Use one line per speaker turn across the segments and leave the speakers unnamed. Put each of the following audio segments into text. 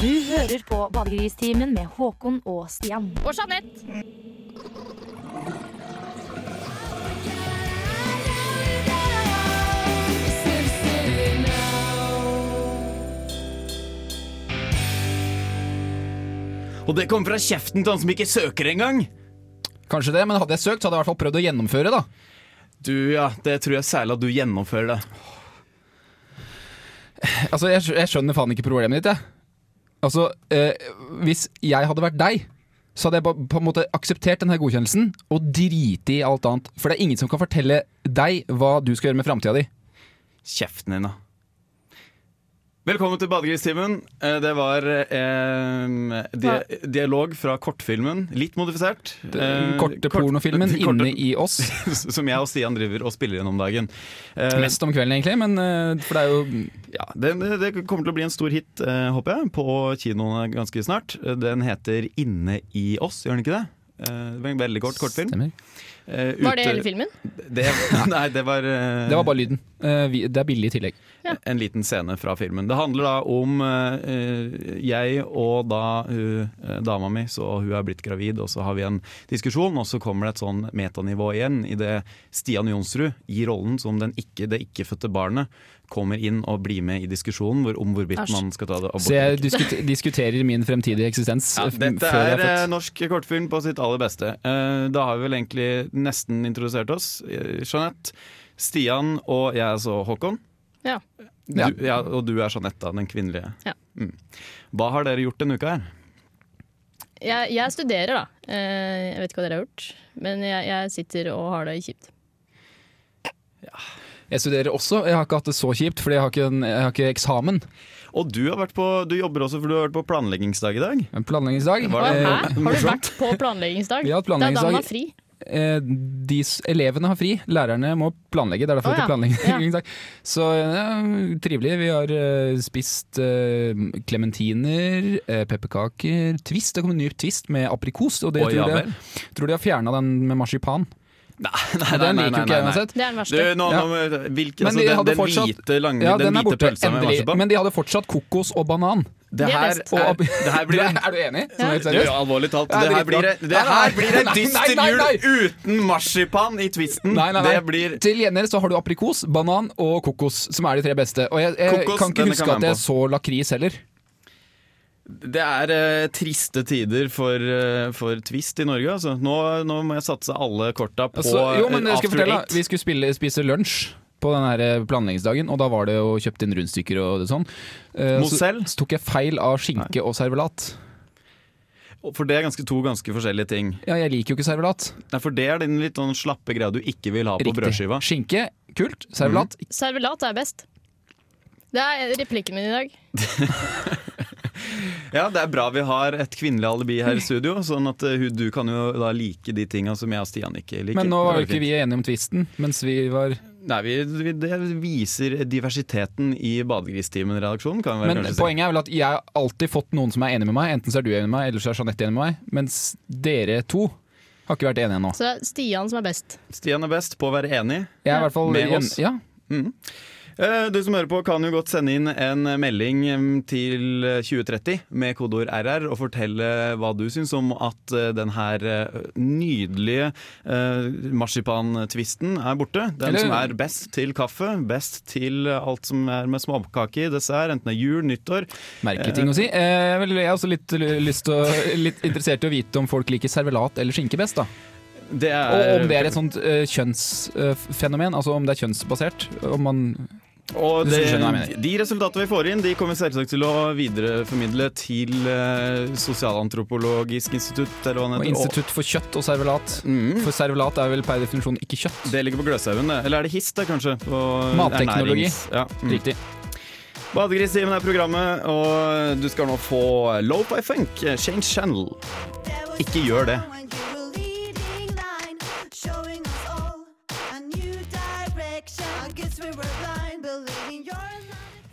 Du hører på Badegristimen med Håkon og Stian.
Og Jeanette.
Og det kom fra kjeften til han som ikke søker engang.
Kanskje det, men hadde jeg søkt, så hadde jeg i hvert fall prøvd å gjennomføre, da.
Du, ja, det tror jeg særlig at du gjennomfører det.
Altså, jeg, skj- jeg skjønner faen ikke problemet ditt, jeg. Altså, eh, hvis jeg hadde vært deg, så hadde jeg ba- på en måte akseptert denne godkjennelsen og driti i alt annet. For det er ingen som kan fortelle deg hva du skal gjøre med framtida di.
Kjeften din, da. Velkommen til Badegristimen. Eh, Det var eh, dia dialog fra kortfilmen. Litt modifisert.
Den
Eh,
korte
kort-
pornofilmen
de korte- Eh.
inne i oss.
Som jeg og Stian driver og spiller inn om dagen. Eh,
Mest om kvelden, egentlig, men eh, for det er jo
ja, den, det kommer til å bli en stor hit, eh, håper jeg, på kinoene ganske snart. Eh, Den heter Inne i oss, gjør den ikke det? Eh, det var en veldig kort kortfilm.
Stemmer.
Eh,
Var det
ute-
hele filmen?
Det, nei, det var, eh,
Det var bare lyden. Eh, vi, det er billig i tillegg.
en liten scene fra filmen. Det handler da om eh, jeg og da hun, eh, dama mi, så hun er blitt gravid, og så har vi en diskusjon, og så kommer det et sånn metanivå igjen idet Stian Jonsrud i rollen som den ikke, det ikke-fødte barnet kommer inn og blir med i diskusjonen hvor, om hvorvidt
Æsj.
man skal ta det abort.
Så jeg diskut- diskuterer min fremtidige eksistens
Ja,
eh, f-
dette
før jeg
er
er
eh,
født.
norsk kortfilm på sitt aller beste. Eh, Da har vi vel egentlig nesten introdusert oss. Eh, Jeanette, Stian og jeg er så Håkon.
Ja.
Du,
Ja.
ja, og du er Jeanette, da, den kvinnelige.
Ja.
Mm. Hva har dere gjort denne uka her?
Jeg, jeg studerer, da. Eh, Jeg vet ikke hva dere har gjort, men jeg, jeg sitter og har det kjipt.
Jeg studerer også. Jeg har ikke hatt det så kjipt, fordi jeg har ikke, en, jeg har ikke eksamen.
Og du, har vært på, du jobber også, for du har vært på planleggingsdag i dag.
En planleggingsdag.
Var
Hva,
det
hæ?
Eh,
Har du vært på planleggingsdag?
Vi har hatt
Det er da
planleggingsdag.
man har fri.
eh, de, s- elevene har fri, lærerne må planlegge. Det er derfor
Å,
det
ja.
heter planleggingsdag. Så eh, ja, trivelig. Vi har eh, spist klementiner, pepperkaker, Twist. Det kommer en ny Twist med aprikos, og det
Oi,
tror,
ja
jeg, tror de har fjerna den med marsipan.
Nei, nei, nei,
Den
nei,
liker jo
nei,
ikke jeg
nei.
uansett.
Det er den
Du,
verste.
nå,
Ja.
nå, hvilke,
Men
altså,
de
den,
hadde
den
fortsatt-
hvite, lange,
Ja, den
den
er
hvite
borte,
pølsa med
endelig.
marsipan.
Men de hadde fortsatt kokos og banan.
Det
Det er
her,
best.
Og
er,
ab-
det her blir en
er du enig? Sånn helt
Du,
seriøst?
alvorlig talt,
Nei,
det
det
her
er
blir
klart.
det
Nei, nei,
her blir en
nei, nei,
dyster
nei,
jul
nei.
uten marsipan i twisten.
Nei, nei, nei.
Det blir
Til gjengjeld så har du aprikos, banan og kokos, som er de tre beste. Og jeg, jeg
Kokos,
kan ikke
denne
huske
kan jeg
at
være med
jeg så lakris heller.
Det er eh, triste tider for, eh, for Twist i Norge. Altså. Nå, nå må jeg satse alle korta på
Altså, jo, men
eh,
jeg
After
skal fortelle,
Eight.
Vi skulle spille, spise lunsj på den her eh, planleggingsdagen, og da var det jo kjøpt inn rundstykker og det sånn. Eh,
Mozell?
Så, så tok jeg feil av skinke og servelat.
For det er ganske, to ganske forskjellige ting.
Ja, jeg liker jo ikke servelat.
Nei, for det er den litt sånn slappe greia du ikke vil ha på brødskiva. Mhm.
Skinke, kult. Servelat,
Servelat er best. Det er replikken min i dag.
Ja, Det er bra vi har et kvinnelig alibi her i studio, sånn at eh, hun- du kan jo da like de tinga som jeg og Stian ikke liker.
Men nå var jo
Det er
ikke vi enige om tvisten, mens vi var
fint. Nei, vi, vi, Det viser diversiteten i Badegristimen-redaksjonen, kan vi vel
Men
kanskje si.
poenget er vel at jeg har alltid fått noen som er enig med meg. Enten så er du enig med meg, eller så er Jeanette enig med meg. Mens dere to har ikke vært enige ennå.
Så det er Stian som er best.
Stian er best på å være enig.
Jeg er i hvert fall
Med oss.
Ja.
Eh, Du som hører på kan jo godt sende inn en melding em, til 2030 med kodeord RR og fortelle hva du syns om at eh, den her eh, nydelige eh, marsipantvisten er borte. Den
Eller-
som er best til kaffe, best til eh, alt som er med småkake i dessert, enten det er jul, nyttår.
Merkelig ting å si. Eh, vel, jeg er også litt, lyst til å, litt interessert i å vite om folk liker servelat eller skinke best. da.
Det er,
Og om det er et sånt eh, kjønnsfenomen, altså om det er kjønnsbasert. Om man
Og
Hvis
det,
du skjønner hva jeg
de resultatene vi får inn, de kommer vi selvsagt til å videreformidle til eh, Sosialantropologisk institutt, eller hva
og
det heter.
Institutt for kjøtt og servelat.
Mm.
For servelat er vel per definisjon ikke kjøtt.
Det ligger på Gløshaugen, det. Eller er det hist, det, kanskje? På
Matteknologi.
ernærings- Ja. Mm.
Riktig.
Badegristimen er programmet, og du skal nå få Lofi Funk, eh, Change Channel. Ikke gjør det.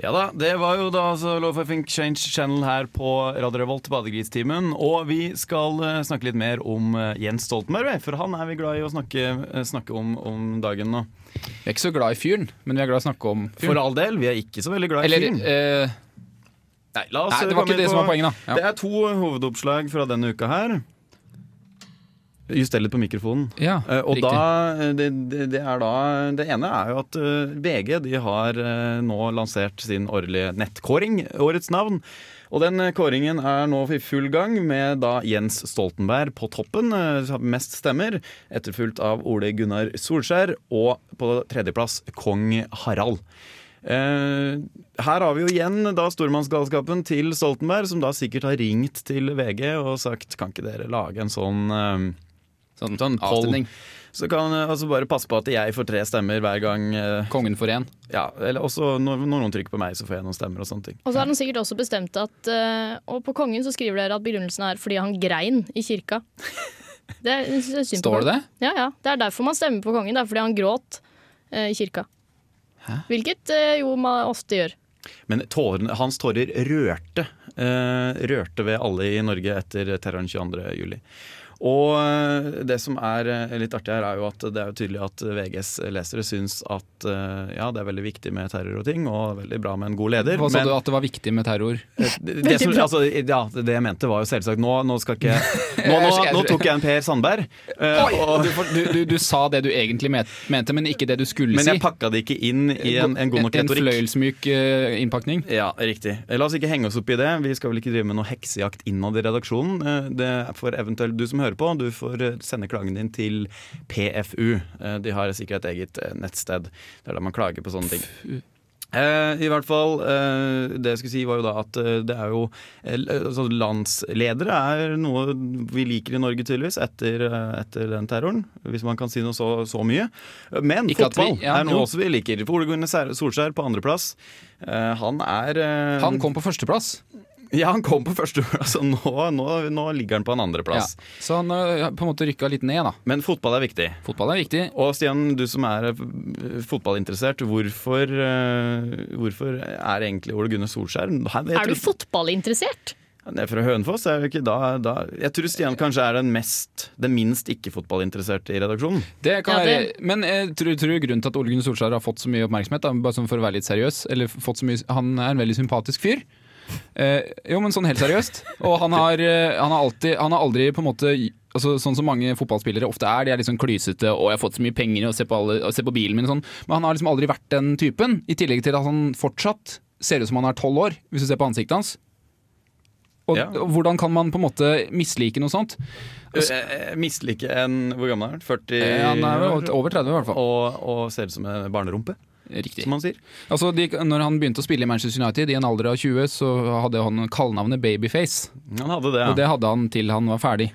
Ja da, det var jo da altså Lofi Funk, Change Channel her på Radio Revolt, Badegristimen. Og vi skal eh, snakke litt mer om eh, Jens Stoltenberg, vi, for han er vi glad i å snakke, eh, snakke om om dagen nå.
Vi er ikke så glad i fyren, men vi er glad i å snakke om
For
fyren.
all del, vi er ikke så veldig glad i
Eller
film.
eh,
Nei, la oss
Nei, det var
komme
ikke
inn
det som
på-
var poenget, da.
Det er to hovedoppslag fra denne uka her. Juster litt på mikrofonen.
Ja,
Eh, og
riktig.
da, det, det det er da Det ene er jo at eh, VG de har eh, nå lansert sin årlige nettkåring, årets navn. Og den eh, kåringen er nå i full gang, med da Jens Stoltenberg på toppen, eh, som har mest stemmer. Etterfulgt av Ole Gunnar Solskjær, og på tredjeplass kong Harald. Eh, her har vi jo igjen da stormannsgalskapen til Stoltenberg, som da sikkert har ringt til VG og sagt kan ikke dere lage en sånn eh,
Sånn,
sånn poll.
avstemning.
så kan eh, altså bare passe på at jeg får tre stemmer hver gang. eh,
Kongen for én.
Ja, eller også når, når noen trykker på meg, så får jeg noen stemmer og sånne ting.
Og så har han sikkert også bestemt at eh, Og på Kongen så skriver dere at begrunnelsen er fordi han grein i kirka. Det er, jeg synes det er synd på
Står det
kongen.
det?
Ja, ja. Det er derfor man stemmer på kongen. Det er fordi han gråt eh, i kirka. Hvilket eh, jo man ofte gjør.
Men tårene, hans tårer rørte. eh, rørte ved alle i Norge etter terroren 22. juli. Og eh, det som er eh, litt artig her, er jo at det er jo tydelig at VGs lesere syns at eh, ja, det er veldig viktig med terror og ting, og veldig bra med en god leder.
Hva sa
men-
du at det var viktig med terror?
Det, det, som, altså, ja, det jeg mente var jo selvsagt Nå, nå, skal ikke, nå, nå, nå tok jeg en Per Sandberg, eh, og,
Du, får- du, du, du sa det du egentlig met- mente, men ikke det du skulle
men
si.
jeg pakka det ikke inn i en, en god nok
En
retorikk.
fløyelsmyk eh, innpakning.
Ja, riktig. Eh, La oss ikke henge oss opp i det. Vi skal vel ikke drive med noe heksejakt innad i redaksjonen. Eh, Det får eventuelt du som hører på, du får eh, sende klagen din til PFU. Eh, De har sikkert et eget eh, nettsted. Det er der man klager på sånne ting. Eh, I hvert fall, eh, det jeg skulle si var jo da at eh, det er jo eh, altså Landsledere er noe vi liker i Norge tydeligvis etter, eh, etter den terroren, hvis man kan si noe så, så mye. Men
Ikke at vi-
fotball
ja,
er
jo.
noe også vi liker. For Ole Gunnar Sær- Solskjær på andreplass. Eh, han er eh,
Han kom på førsteplass.
Ja, han kom på første plass, og nå, nå, nå ligger han på en andreplass.
Ja. Så han eh, på en måte rykka litt ned, da.
Men fotball er viktig.
Fotball er viktig.
Og Stian, du som er eh, fotballinteressert, hvorfor, eh, hvorfor er egentlig Ole Gunnar Solskjær Han- jeg
Er du
tror-
fotballinteressert?
Han er fra Hønefoss. Er jo ikke da, da. Jeg tror Stian kanskje er den, mest, den minst ikke-fotballinteresserte i redaksjonen.
Det kan
Ja,
være, men jeg tror, tror grunnen til at Ole Gunnar Solskjær har fått så mye oppmerksomhet, da, bare sånn for å være litt seriøs eller fått så mye, Han er en veldig sympatisk fyr. Eh, jo, men sånn helt seriøst. Og han har, eh, han har, alltid, han har aldri på en måte altså, Sånn som mange fotballspillere ofte er, de er litt sånn klysete og 'jeg har fått så mye penger' og 'se på, alle, og se på bilen min' og sånn. Men han har liksom aldri vært den typen. I tillegg til at han fortsatt ser ut som han er tolv år, hvis du ser på ansiktet hans. Og,
Ja.
og hvordan kan man på en måte mislike noe sånt?
Jeg- Jeg misliker Eh, en Hvor gammel er han? 40
Eh, Han er
år?
jo over 30 i hvert fall.
Og, og ser ut som en barnerumpe,
Riktig.
som han sier.
Altså, de, når han begynte å spille i Manchester United i en alder av 20, så hadde han kallenavnet Babyface.
Han hadde det, ja.
Og det hadde han til han var ferdig.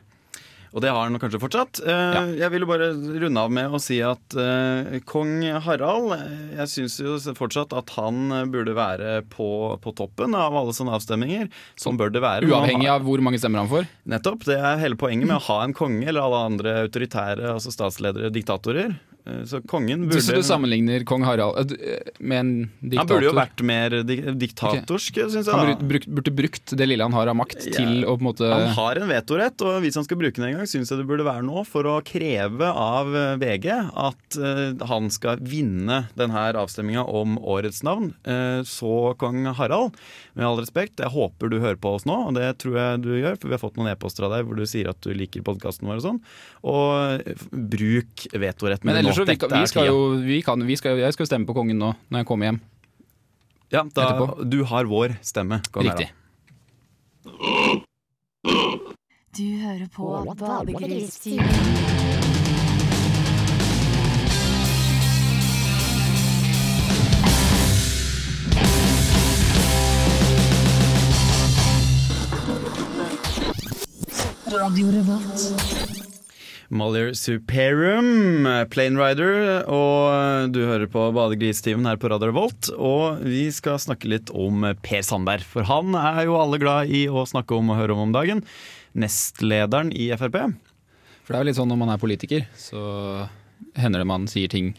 Og det har han kanskje fortsatt. Eh, Jeg ville bare runde av med å si at eh, kong Harald eh, Jeg syns jo fortsatt at han eh, burde være på, på toppen av alle sånne avstemninger. Sånn bør det være. når man har-
Uavhengig av hvor mange stemmer han får.
Nettopp. Det er hele poenget med å ha en konge eller alle andre autoritære, altså statsledere, diktatorer. Eh, Så kongen
Du,
burde
så du sammenligner kong Harald eh, du- med en diktator.
Han burde jo vært mer di diktatorsk, syns jeg.
Han
da.
burde brukt, burde brukt det lille han har av makt,
Ja.
til å på en måte
Han har en vetorett, og hvis han skal bruke den en gang, syns jeg det burde være nå for å kreve av eh, VG at eh, han skal vinne denne avstemminga om årets navn. Eh, Så kong Harald, med all respekt, jeg håper du hører på oss nå, og det tror jeg du gjør, for vi har fått noen e-poster av deg hvor du sier at du liker podkasten vår og sånn. Og eh, f- bruk vetoretten
Men
din nå.
ellers så vi,
Dette
kan- vi
er
skal
tida.
jo vi kan, vi skal, Jeg skal jo stemme på kongen nå, når jeg kommer hjem.
ja, da,
etterpå.
Du har vår stemme, kong
Riktig.
Harald.
Du hører på
Badegristimen.
Mollier Superum, Plane Rider, og du hører på Badegristimen her på Radio Revolt. Og vi skal snakke litt om Per Sandberg, for han er jo alle glad i å snakke om og høre om om dagen. Nestlederen i Frp.
For det er jo litt sånn når man er politiker, så hender det man sier ting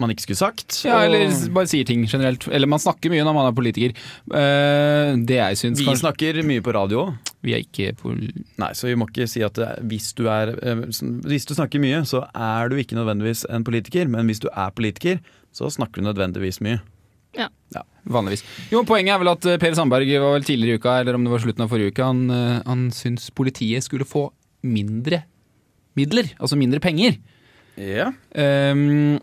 Man ikke skulle sagt.
Ja,
og
eller s- bare sier ting generelt. Eller man snakker mye når man er politiker. Eh, det jeg syns
vi
kanskje-
snakker mye på radio òg.
Vi er ikke pol...
Nei, så vi må ikke si at det er, hvis, du er, eh, sånn- hvis du snakker mye, så er du ikke nødvendigvis en politiker. Men hvis du er politiker, så snakker du nødvendigvis mye.
Ja.
Vanligvis. Jo, Poenget er vel at eh, Per Sandberg var vel tidligere i uka, eller om det var slutten av forrige uke, han, eh, han syns politiet skulle få mindre midler, altså mindre penger.
Ja.
Ehm,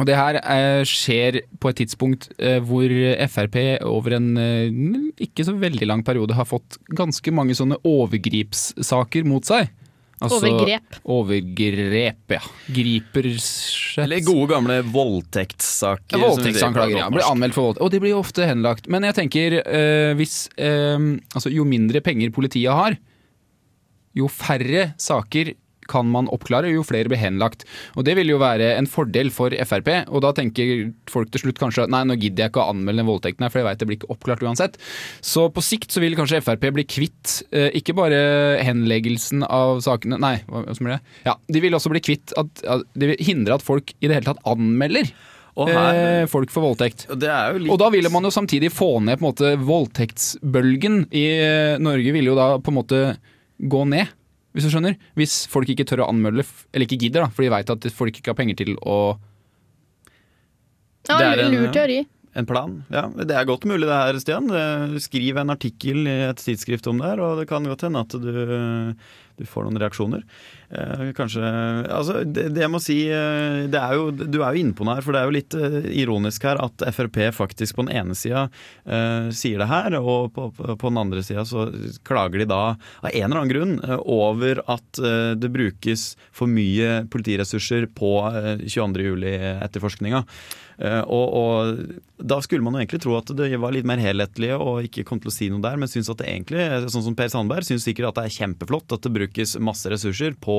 og det her eh, skjer på et tidspunkt eh, hvor Frp over en eh, ikke så veldig lang periode har fått ganske mange sånne overgripssaker mot seg. Altså
Overgrep.
Overgrep, ja. Griper seg-
Eller gode gamle voldtektssaker.
ja, Voldtektsanklager, ja. Blir anmeldt for voldtekt. Og de blir jo ofte henlagt. Men jeg tenker, eh, hvis eh, Altså, jo mindre penger politiet har, jo færre saker kan man oppklare, jo flere blir henlagt. Og det vil jo være en fordel for Frp, og da tenker folk til slutt kanskje at nei, nå gidder jeg ikke å anmelde den voldtekten her, for jeg veit det blir ikke oppklart uansett. Så på sikt så vil kanskje Frp bli kvitt eh, ikke bare henleggelsen av sakene Nei, hva hva som er det? Ja, de vil også bli kvitt at, at De vil hindre at folk i det hele tatt anmelder
Og her,
eh, folk for voldtekt.
det er jo litt
Og da ville man jo samtidig få ned på en måte voldtektsbølgen i eh, Norge ville jo da på en måte gå ned, hvis du skjønner. Hvis folk ikke tør å anmelde, f- eller ikke gidder, da, for de veit at folk ikke har penger til å
Ja,
Det er en-
lur teori.
En plan? Ja, det er godt mulig det her, Stian. Eh, Skriv en artikkel i et tidsskrift om det her, og det kan godt hende at du, du får noen reaksjoner. Eh, Kanskje Altså, det, det jeg må si eh, det er jo, Du er jo inne på noe her, for det er jo litt eh, ironisk her at Frp faktisk på den ene sida eh, sier det her, og på, på på den andre sida så klager de da av en eller annen grunn eh, over at eh, det brukes for mye politiressurser på eh, 22. juli etterforskninga Eh, Og, og da skulle man jo egentlig tro at det var litt mer helhetlige og ikke kom til å si noe der, men syns at det egentlig, sånn som Per Sandberg, syns sikkert at det er kjempeflott at det brukes masse ressurser på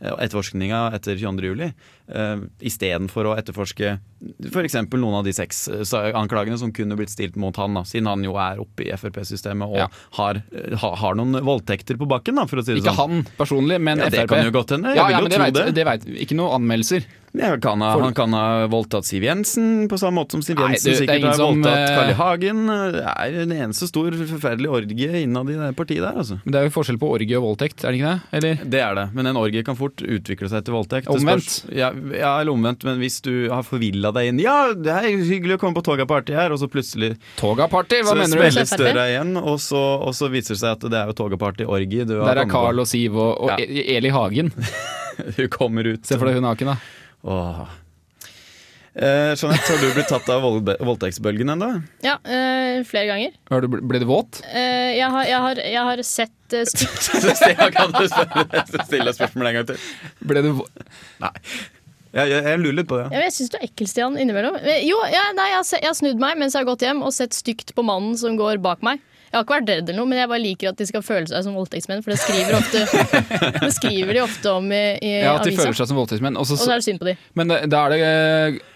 eh, etterforskninga etter 22. juli, eh, istedenfor å etterforske f.eks. noen av de seks eh, sa- anklagene som kunne blitt stilt mot han, da, siden han jo er oppe i Frp-systemet og
Ja.
har, eh, ha, har noen voldtekter på bakken, da, for å si det
Ikke
sånn.
han personlig, men
Ja,
Frp.
det kan jo godt hende. Jeg
Ja,
vil
ja,
jo
men det
tro
vet,
det.
det vet, ikke noe anmeldelser.
Ja, kan ha,
For-
han kan ha voldtatt Siv Jensen, på samme måte som Siv
Nei,
Jensen
du, det er
sikkert
ingen
har
som,
voldtatt
eh,
Carl I. Hagen. Det er en eneste stor forferdelig orgie innad i det partiet der, altså.
Men det er jo forskjell på orgie og voldtekt, er det ikke det? Eller?
Det er det, men en orgie kan fort utvikle seg til voldtekt. Det spørs- Ja, ja, eller omvendt, men hvis du har forvilla deg inn Ja, det er hyggelig å komme på toget på Arti her, og så plutselig
Toga-party,
så
hva mener du?
spiller-
smeller støra igjen, og så, og så viser det seg at det er jo toget på Arti orgie du har
Der er
kommet
Carl og Siv og, og
Ja.
E- Eli Hagen.
på. Hun kommer ut.
Se for deg hun naken, da.
Åh. Eh, Jeanette, har du blitt tatt av vold, voldtektsbølgen ennå?
Ja, eh, flere ganger.
Har du bl- Ble du våt?
Eh, jeg, har, jeg, har, jeg har sett eh, stikk
Stian, kan du spørre- stille spørsmålet en gang til?
Ble du vå-
Jeg, jeg, jeg lurer litt på det.
Ja, men Jeg syns du er ekkel, Stian, innimellom. Eh, Jo, ja, nei, jeg, har se- jeg har snudd meg mens jeg har gått hjem og sett stygt på mannen som går bak meg. Jeg har ikke vært redd eller noe, men jeg bare liker at de skal føle seg som voldtektsmenn, for det skriver, ofte, det skriver de ofte om i, i
Ja, at de
avisa.
føler seg som voldtektsmenn. Eh, Og så,
Og så er det synd på de.
men da da er det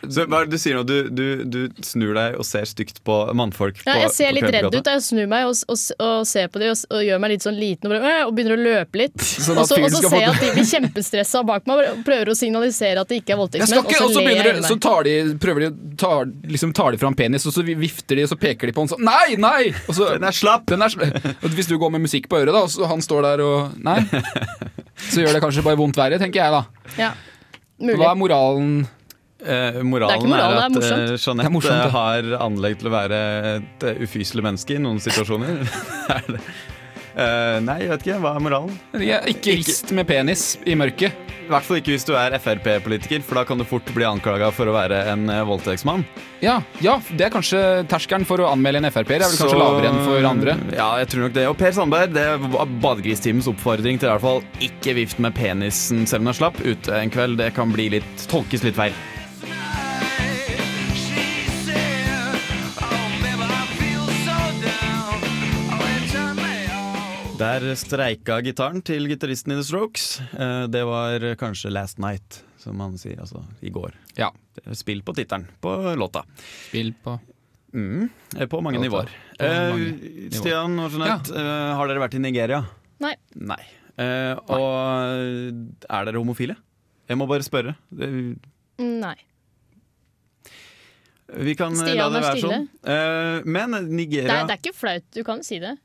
eh,
Så, hva er det du sier nå? Du, du, du snur deg og ser stygt på mannfolk?
Ja,
på-
jeg ser
på
litt redd
Kvelergata.
ut. da. Jeg snur meg og, s- og, s- og ser på dem og, s- og gjør meg litt sånn liten og, bare, «Øh», og begynner å løpe litt.
Sånn
og
at
så,
fyren
og så
skal få-
ser jeg at de blir kjempestressa bak meg og prøver å signalisere at det
Jeg
ikke er
skal
voldtektsmenn.
ikke, og så
ler
begynner
jeg
de, så
inni meg.
tar de, prøver de, å ta- liksom tar de fram penis, og så vi- vifter de, og så peker de på den sånn Nei, nei! Og så,
Den er slapp!
den er sl- og hvis du går med musikk på øret, da, og så han står der og Nei. Så gjør det kanskje bare vondt verre, tenker jeg da.
ja. Mulig.
Hva er moralen?
Eh,
Det er
moralen
ikke moral,
er at
det er morsomt.
eh,
Det
Jeanette
er morsomt, ja.
eh, har anlegg til å være et eh, ufyselig menneske i noen situasjoner. er det? Eh, nei, jeg vet ikke. Hva er moralen?
Ikke, ikke rist med penis i mørket.
I hvert fall ikke hvis du er Frp-politiker, for da kan du fort bli anklaga for å være en eh, voldtektsmann.
Ja, ja, det er kanskje terskelen for å anmelde en Frp-er. Er vel kanskje lavere enn for andre.
Ja, jeg tror nok det. Og Per Sandberg, det var badegristimens oppfordring til i hvert fall ikke vift med penisen selv om den er slapp ute en kveld. Det kan bli litt, tolkes litt feil.
She said, Oh, baby, I feel so down. Oh, it turned me off.
Der streika gitaren til gitaristen i The Strokes. Eh, Det var kanskje Last Night, som man sier. Altså i går.
Ja.
Det er Spill på tittelen på låta.
Spill på
Mm. eh, På mange
Låta.
nivåer.
På mange
Eh, Stian og Jeanette, eh, har dere vært i Nigeria?
Nei.
Nei. Eh, og er dere homofile? Jeg må bare spørre. Det-
Mm, Nei.
Vi kan
Stian
la det
er
være
stille.
sånn. Eh, men Nigeria
Det, er, det er ikke flaut. Du kan si det.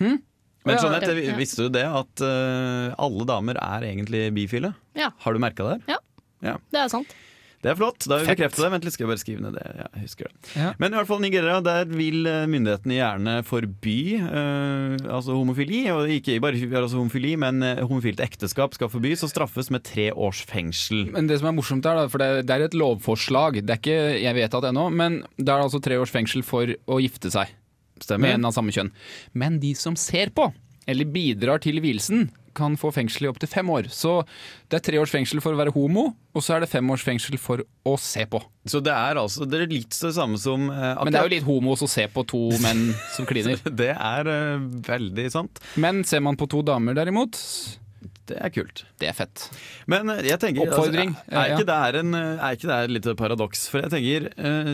Men
Ja,
Jeanette,
det- ja.
visste du det at eh, alle damer er egentlig bifile?
Ja.
Har du merka det? her?
Det er sant.
Det er flott. Da har vi
Fett.
bekreftet det. Vent litt, skal jeg bare skrive ned det. Ja, jeg husker det.
Ja.
Men i hvert fall Nigeria, der vil eh, myndighetene gjerne forby eh, altså homofili. Og ikke bare altså homofili, men eh, homofilt ekteskap skal forbys og straffes med tre års fengsel.
Men det som er morsomt er, da, for det, det er et lovforslag, det er ikke jeg vedtatt ennå, men det er altså tre års fengsel for å gifte seg med en av samme kjønn. Men de som ser på, eller bidrar til vielsen, kan få fengsel i opptil fem år. Så det er tre års fengsel for å være homo, og så er det fem års fengsel for å se på.
Så det er altså det er litt det samme som eh,
Men det er jo litt homo å se på to menn som kliner.
Det er eh, veldig sant.
Men ser man på to damer derimot,
Det er kult.
det er fett.
Men eh, jeg tenker
Oppfordring,
Altså, er,
ja.
er ikke det her en, eh, er ikke det her et lite paradoks? For jeg tenker eh,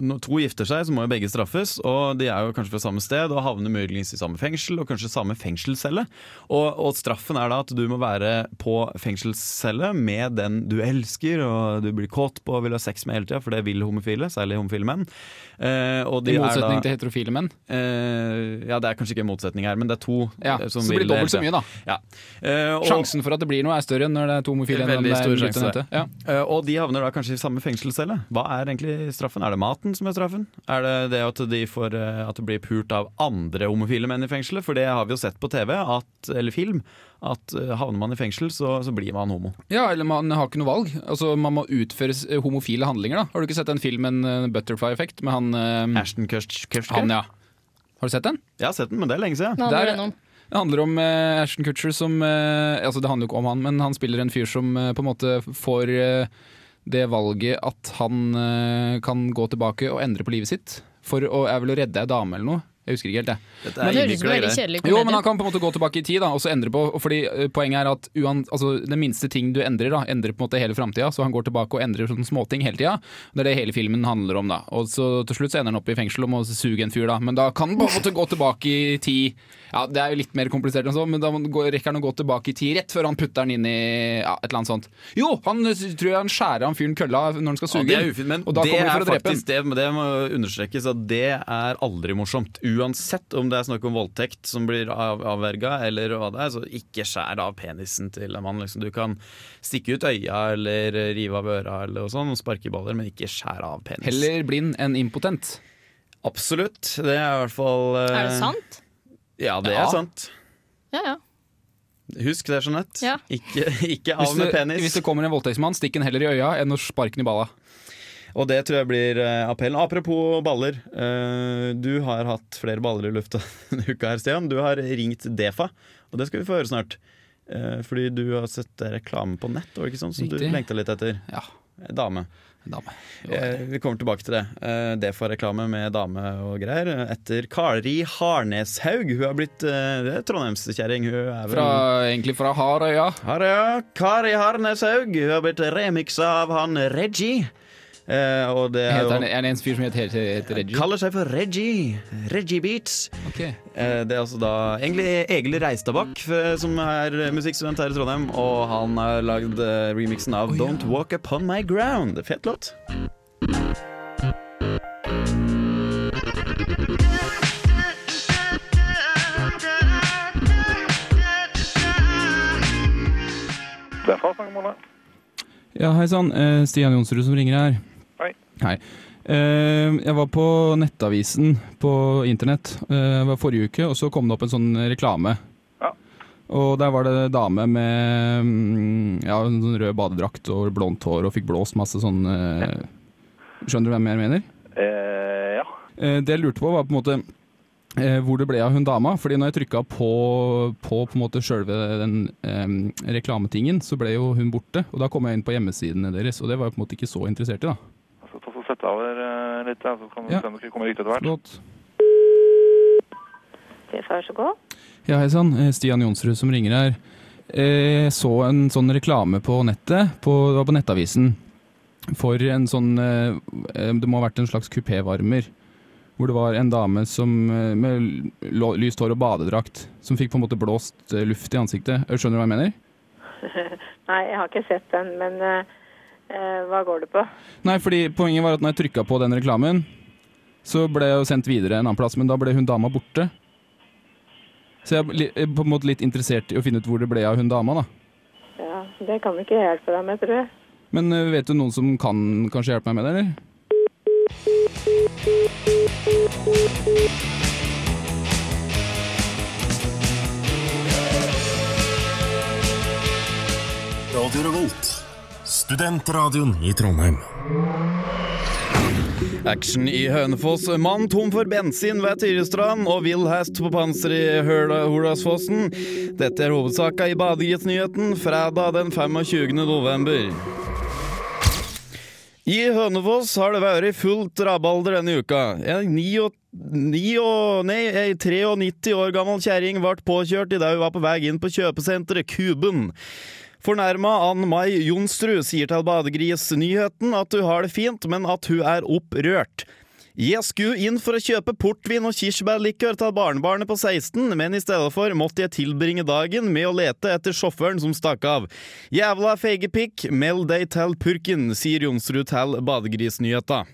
Når to gifter seg, så må jo begge straffes. Og de er jo kanskje fra samme sted og havner muligens i samme fengsel, og kanskje samme fengselscelle. Og, og straffen er da at du må være på fengselscelle med den du elsker og du blir kåt på og vil ha sex med hele tida, for det vil homofile, særlig homofile menn. Eh, og de
I
er
motsetning
da-
til heterofile menn.
Eh, ja, det er kanskje ikke en motsetning her, men det er to.
Ja,
eh,
så det blir
vil
dobbelt så
hele
mye, da.
tiden. Ja. Eh, og,
Sjansen for at det blir noe, er større når det er to homofile. enn om
Veldig
det er en
stor
gutt og en
sjanse.
jente. Ja.
eh, og de havner da kanskje i samme fengselscelle. Hva er egentlig straffen? Er det maten som er straffen? Er det det at de får, eh, at det blir pult av andre homofile menn i fengselet? For det har vi jo sett på TV, at, eller film, at eh, havner man i fengsel, så, så blir man homo.
Ja, eller man har ikke noe valg. Altså, Man må utføre s- homofile handlinger, da. Har du ikke sett den filmen eh, 'Butterfly Effect' med han eh,
Ashton Kutcher.
Han,
Kutcher?
ja. Har du sett den?
Jeg har sett den, men det er lenge siden.
Hva handler
Der-
den om?
Det handler om eh, Ashton Kutcher som eh, Altså, det handler jo ikke om han, men han spiller en fyr som eh, på en måte får eh, det valget at han eh, kan gå tilbake og endre på livet sitt. For å, er vel å redde ei dame eller noe. Jeg husker ikke helt, jeg.
Dette
Det høres ut som en
innviklet
veldig
greier.
kjedelig
Jo, men
komedie.
han kan på en måte gå tilbake i tid da, og så endre på. og Fordi eh, Poenget er at uan, altså, den minste ting du endrer, da, endrer på en måte hele framtida. Så han går tilbake og endrer sånne småting hele tida. Det er det hele filmen handler om. da. Og så Til slutt så ender han opp i fengsel og må suge en fyr, da. Men da kan han på en måte gå tilbake i tid. Ja, Det er jo litt mer komplisert enn så, men da må- går- rekker han å gå tilbake i tid rett før han putter den inn i ja, et eller annet sånt. Jo, han eh, tror jeg han skjærer han fyren kølla når han skal
Ja,
suge
det er
den,
ufint, men
og da
det
kommer de
er
for å drepe den.
faktisk det, det må understrekes at det er aldri morsomt. Uansett om det er snakk om voldtekt som blir av, avverga, eller hva det er, så ikke skjær av penisen til en mann. Liksom. Du kan stikke ut øya eller rive av øra eller noe sånt, og sparke i baller, men ikke skjær av penis.
Heller blind enn impotent.
Absolutt. Det er i hvert fall eh,
Er det sant?
Ja, det
Ja.
er sant.
Ja, ja.
Husk det, Jeanette.
Ja.
Ikke, ikke
Hvis
av med
det,
penis.
hvis det kommer en voldtektsmann, stikk den heller i øya enn å sparke den i balla.
Og det tror jeg blir eh, appellen. Apropos baller. eh, du har hatt flere baller i lufta denne uka her, Stian. Du har ringt Defa, og det skal vi få høre snart. Eh, fordi du har sett reklame på nett, var det ikke sånn, som du
Riktig.
lengta litt etter?
Ja,
Eh, Dame.
dame.
Eh, vi kommer tilbake til det. Eh, Defa-reklame med dame og greier. eh, Etter Kari Harneshaug. Hun har blitt eh, det er trondheimskjerring. Hun er vel
Fra,
Mm.
egentlig fra Harøya.
Her er Kari Harneshaug. Hun har blitt remiksa av han Reggie. Eh, og det er
Heter
jo
han, er det en fyr som heter, heter, heter Reggie?
Kaller seg for Reggie. Reggie Beats.
Ok.
Eh, Det er altså da egentlig Egil Reistadbakk, f- som er musikkstudent her i Trondheim. Og han har lagd eh, remixen av Don't Walk Upon My Ground. Fet låt.
Derfor snakker man det.
Ja, hei sann. Eh, Stian Jonsrud som ringer her.
Hei.
Hei. Eh, Jeg var på Nettavisen på internett eh, det var forrige uke, og så kom det opp en sånn reklame.
Ja.
Og der var det en dame med mm, ja, en sånn rød badedrakt og blondt hår og fikk blåst masse sånn eh, Skjønner du hvem jeg mener?
Eh, ja.
Eh, Det jeg lurte på, var på en måte eh, hvor det ble av hun dama. Fordi når jeg trykka på, på, på en måte sjølve den eh, reklametingen, så ble jo hun borte. Og da kom jeg inn på hjemmesidene deres, og det var jeg på en måte ikke så interessert i, da.
Så ta så sett deg over eh, litt, ja, så kan du
Ja.
se om dere kommer riktig etter hvert.
Flott.
Det får så gå.
Ja, hei sann. Eh, Stian Jonsrud som ringer her. Eh, Jeg så en sånn reklame på nettet, på, det var på Nettavisen, for en sånn eh, eh, Det må ha vært en slags kupévarmer. Hvor det var en dame som, eh, med l- lyst hår og badedrakt som fikk på en måte blåst eh, luft i ansiktet. Eh, Skjønner du hva jeg mener?
Nei, jeg har ikke sett den, men eh, eh, hva går det på?
Nei, fordi poenget var at når jeg trykka på den reklamen, så ble jeg jo sendt videre en annen plass, men da ble hun dama borte. Så jeg er li-
eh,
er på en måte litt interessert i å finne ut hvor det ble av hun dama, da.
Ja, det kan vi ikke hjelpe deg med, tror jeg.
Men eh, vet du noen som kan kanskje hjelpe meg med det, eller?
Radio Revolt. Studentradioen i Trondheim.
Action i Hønefoss. Mann tom for bensin ved Tyrestrand og vill hest på panser i Høla- Holasfossen. Dette er hovedsaka i Badegrytsnyheten fredag den 25. november. I Hønefoss har det vært fullt rabalder denne uka. En ni og- ni og- nei, ei 93 år gammel kjerring ble påkjørt idet hun var på vei inn på kjøpesenteret Kuben. Fornærma Ann Mai Jonsrud sier til Badegris-nyheten at hun har det fint, men at hun er opprørt. Jeg skulle inn for å kjøpe portvin og kirsebærlikør til barnebarnet på 16, men i stedet for måtte jeg tilbringe dagen med å lete etter sjåføren som stakk av. Jævla fegepikk, meld deg til purken, sier Jonsrud til Badegris-nyheta.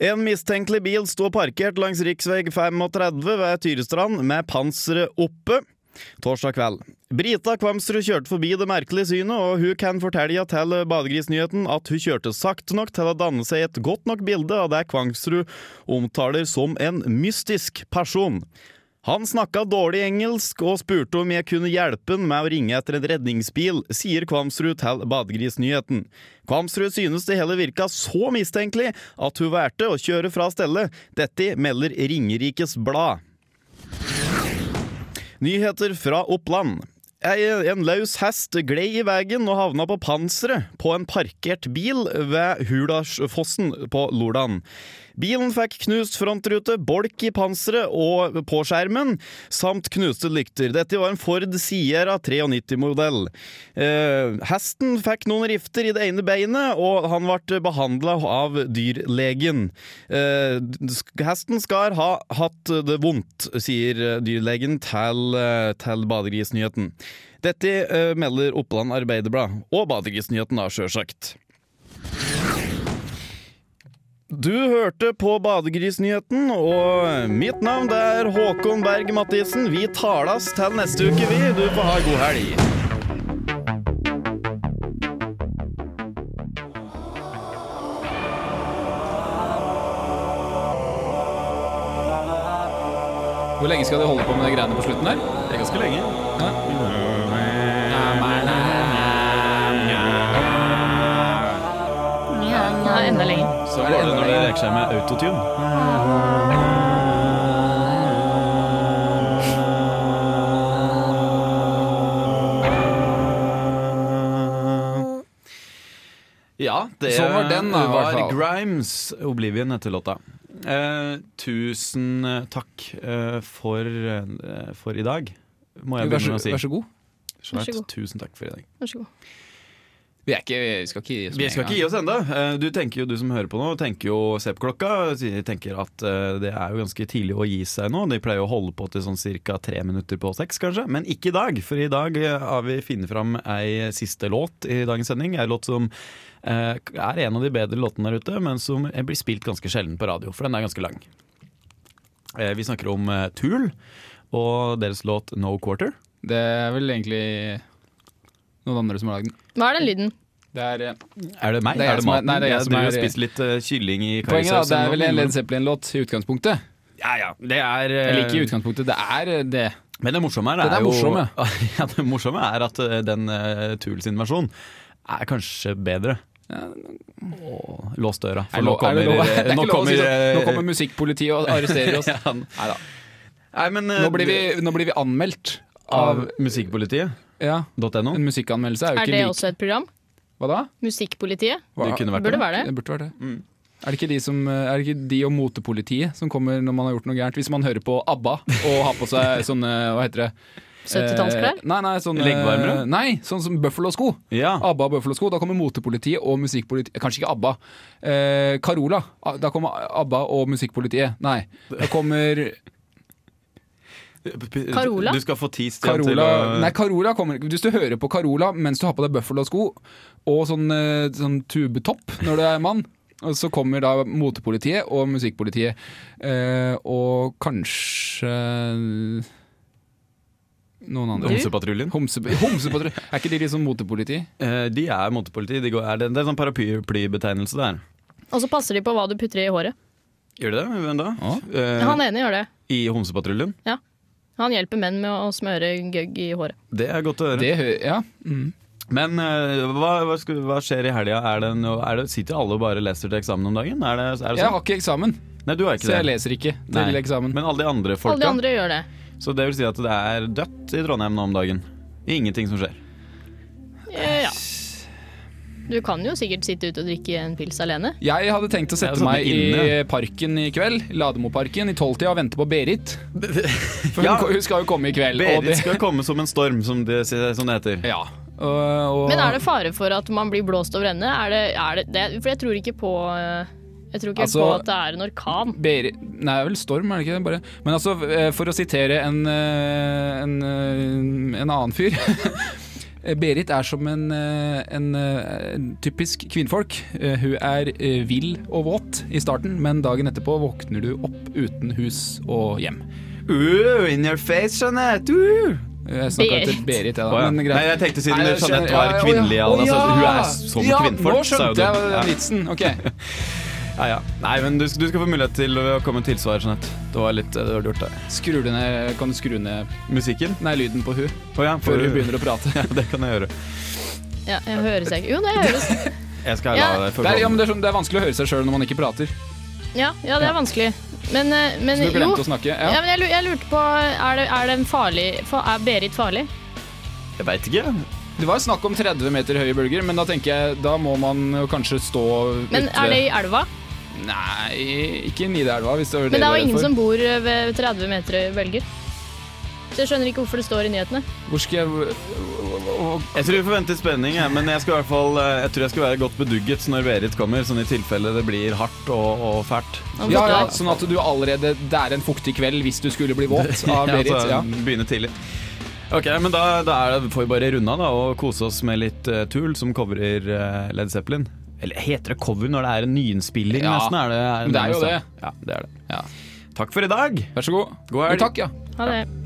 En mistenkelig bil sto parkert langs rv. 35 ved Tyrestrand med panseret oppe torsdag kveld. Brita Kvamsrud kjørte forbi det merkelige synet, og hun kan fortelle til Badegrisnyheten at hun kjørte sakte nok til å danne seg et godt nok bilde av det Kvamsrud omtaler som en mystisk person. Han snakka dårlig engelsk og spurte om jeg kunne hjelpe han med å ringe etter en redningsbil, sier Kvamsrud til Badegrisnyheten. Kvamsrud synes det hele virka så mistenkelig at hun valgte å kjøre fra stedet. Dette melder Ringerikes Blad. Nyheter fra Oppland. Ei- En løs hest gled i veien og havna på panseret på en parkert bil ved Hurdalsfossen på Loland. Bilen fikk knust frontrute, bolk i panseret og på skjermen, samt knuste lykter. Dette var en Ford Sierra 93-modell. Eh, hesten fikk noen rifter i det ene beinet, og han ble behandla av dyrlegen. Eh, sk- hesten skal ha hatt det vondt, sier eh, dyrlegen til, eh, til Badegrisnyheten. Dette eh, melder Oppland Arbeiderblad, og Badegrisnyheten da, sjølsagt. Du hørte på Badegrisnyheten, og mitt navn det er Håkon Berg Mathisen. Vi talas til neste uke, vi. Du får ha god helg.
Hvor lenge skal de holde på med de greiene på slutten der? Det er ganske lenge.
Nei, enda lenger.
Så går det når de leker seg med autotune. Ja, det
Sånn var den da, i hvert
var
fall.
Grimes Oblivion etter låta. Eh, tusen eh, takk eh, for, eh, for i dag, må jeg
Vær så,
begynne å si.
vær så god.
vær så
Jeanette,
god.
Tusen takk for i dag.
Vær så god.
Vi, er ikke, vi skal ikke gi oss
Vi skal ikke gi oss ennå. Du tenker jo, du som hører på nå, tenker jo se på klokka. sier- Tenker at eh, det er jo ganske tidlig å gi seg nå. De pleier å holde på til sånn ca. tre minutter på seks, kanskje. Men ikke i dag, for i dag eh, har vi funnet fram ei siste låt i dagens sending. Ei låt som eh, er en av de bedre låtene der ute, men som eh, blir spilt ganske sjelden på radio, for den er ganske lang. Eh, Vi snakker om eh, Tool og deres låt No Quarter.
Det er vel egentlig noen andre som har lagd den.
Hva er den lyden?
Det er, eh,
Er det meg?
Det er jeg
er det
som er-
maten?
nei, det er jeg
jeg
som
driver og
er-
spiser litt eh, kylling i
poenget da,
karisaus.
det er vel en Led Zeppelin-låt i utgangspunktet.
Ja, ja. Det er eh,
Jeg liker i utgangspunktet. Det er eh, det.
Men det morsomme er,
Den er
jo
morsomme.
ja, det morsomme er at eh, den uh, Tool sin versjon er kanskje bedre. Åh, Lås døra, for
Er
nå
lov- er
kommer
det lov- det er
eh,
ikke
Nå
lov å si
kommer
sånn, nå
eh,
kommer musikkpolitiet og arresterer oss.
ja, n-
Neida.
Nei, men eh,
Nå blir vi, nå blir vi anmeldt
av
av
musikkpolitiet.no.
ja, En musikkanmeldelse er jo
Er
ikke
det
lik.
også et program?
Hva da?
Musikkpolitiet?
Det kunne vært
Burde
det.
det være det?
Det burde vært det.
Mm.
Er det ikke de, som, eh, er det ikke de og motepolitiet som kommer når man har gjort noe gærent? Hvis man hører på ABBA og har på seg sånne, hva heter det?
70-tallsklær?
Eh, Nei, nei, sånne,
Leggvarmere?
Nei, sånn som Buffalo-sko.
Ja.
ABBA og Buffalo-sko. Da kommer motepolitiet og musikkpolitiet Kanskje ikke ABBA. Eh, Carola. Ah, Da kommer ABBA og musikkpolitiet. Nei. Da kommer
Carola?
Du skal få ti stjerner til
Carola
å
Nei, Carola kommer ikke. Hvis du hører på Carola mens du har på deg Buffalo-sko og sånn, eh, sånn tubetopp når du er mann, og så kommer da motepolitiet og musikkpolitiet. Eh, og kanskje Noen andre.
Homsepatruljen.
Homse, homsepatrulje. Er ikke de liksom motepoliti?
Eh, de er motepoliti. De går, er det, det er en sånn paraplybetegnelse der.
Og så passer de på hva du putter i håret.
Gjør de det? Hvem da?
Ja.
Eh,
Han ene gjør det.
I Homsepatruljen?
Han hjelper menn med å smøre gøgg i håret.
Det er godt å høre.
Det hø- ja. Mm.
Men eh, hva, hva, skulle, hva skjer i helga? Er det noe- er det- Sitter alle og bare leser til eksamen om dagen? Er det, er det
Jeg
sånn?
har ikke eksamen,
Nei, du har ikke
så jeg
det.
leser ikke til
Nei.
eksamen.
Men alle de andre
Alle de
folka?
andre gjør det.
Så det vil si at det er dødt i Trondheim nå om dagen? Ingenting som skjer.
Eh, Ja. Du kan jo sikkert sitte ute og drikke en pils alene.
Jeg hadde tenkt
Jeg
å sette
satt
meg i
inne.
parken i kveld, Lademoparken, i tolvtida og vente på Berit. For hun,
Ja.
ko- hun skal jo komme i kveld. og
Berit
det-
skal komme som en storm, som det, som det heter.
Ja. Og, og,
Men er det fare for at man blir blåst over ende? Er det, er det, det For jeg tror ikke på eh, Jeg tror ikke
Altså-
på at det er en orkan.
Berit Nei, det er vel storm, er det ikke det? Bare. Men altså, eh, for å sitere en, eh, en, eh, en annen fyr Eh, Berit er som en, eh, en, eh, en typisk kvinnfolk. Eh, Hun er eh, vill og våt i starten, men dagen etterpå våkner du opp uten hus og hjem.
Uh, in your face, Jeanette! Uh.
Jeg snakker
Berit.
til Berit, jeg, da.
Å, ja.
men greit.
Nei, jeg tenkte siden
Nei, jeg
Jeanette
skjønner.
var
Ja, ja, å, ja.
kvinnelig ja,
Å,
altså,
ja.
Hun er som
ja,
kvinnfolk,
Nå skjønte
sa jo
jeg
du.
den
Ja.
vitsen. Ok.
Ja, ja. Nei, men du, du skal få mulighet til å komme med tilsvar, Jeanette. Det var litt eh, dårlig gjort, det.
Skru det ned, kan du skru ned
Musikken?
Nei, lyden på hun
Å ja,
før
får
hun
du-
begynner å prate.
Ja, det kan jeg gjøre.
Ja, jeg høres jeg ikke Jo, nei, jeg høres.
Jeg skal
Ja.
la deg få
Det er, ja, men det, er sånn, det er vanskelig å høre seg sjøl når man ikke prater.
Ja, ja det er vanskelig. Men, eh, men
Så du
jo.
glemte å snakke.
Ja.
Ja.
men jeg, lu- jeg lurte på Er, det, er, det en farlig, fa- er Berit farlig?
Jeg veit ikke.
Det var snakk om 30 meter høye bølger, men da tenker jeg da må man jo kanskje stå
Men
ute
er det i elva?
Nei, ikke i Nidelva. Hvis det var det
Men det
du
er
var
jo
redd
ingen
for.
som bor eh, ved 30 meter bølger. Så jeg skjønner ikke hvorfor det står i nyhetene.
Hvor skal jeg
Jeg tror vi får vente i spenning, jeg, men jeg, skal i hvert fall, eh, jeg tror jeg skal være godt bedugget når Berit kommer, sånn i tilfelle det blir hardt og, og fælt.
Han
Ja,
bor
ja,
der.
sånn at du allerede Det er en fuktig kveld hvis du skulle bli våt av Berit.
altså,
Ja.
Begynne tidlig. Ok, men da, da er det, får vi bare runde av da, og kose oss med litt eh, Tool som coverer eh, Led Zeppelin. Eller heter det cover når det er en nyinnspilling,
Ja,
nesten? Er det,
men det er jo
nærmest, Ja, Ja, det er det.
Ja.
Takk for i dag.
Vær så god.
God helg.
Jo, Takk, ja.
Ha det.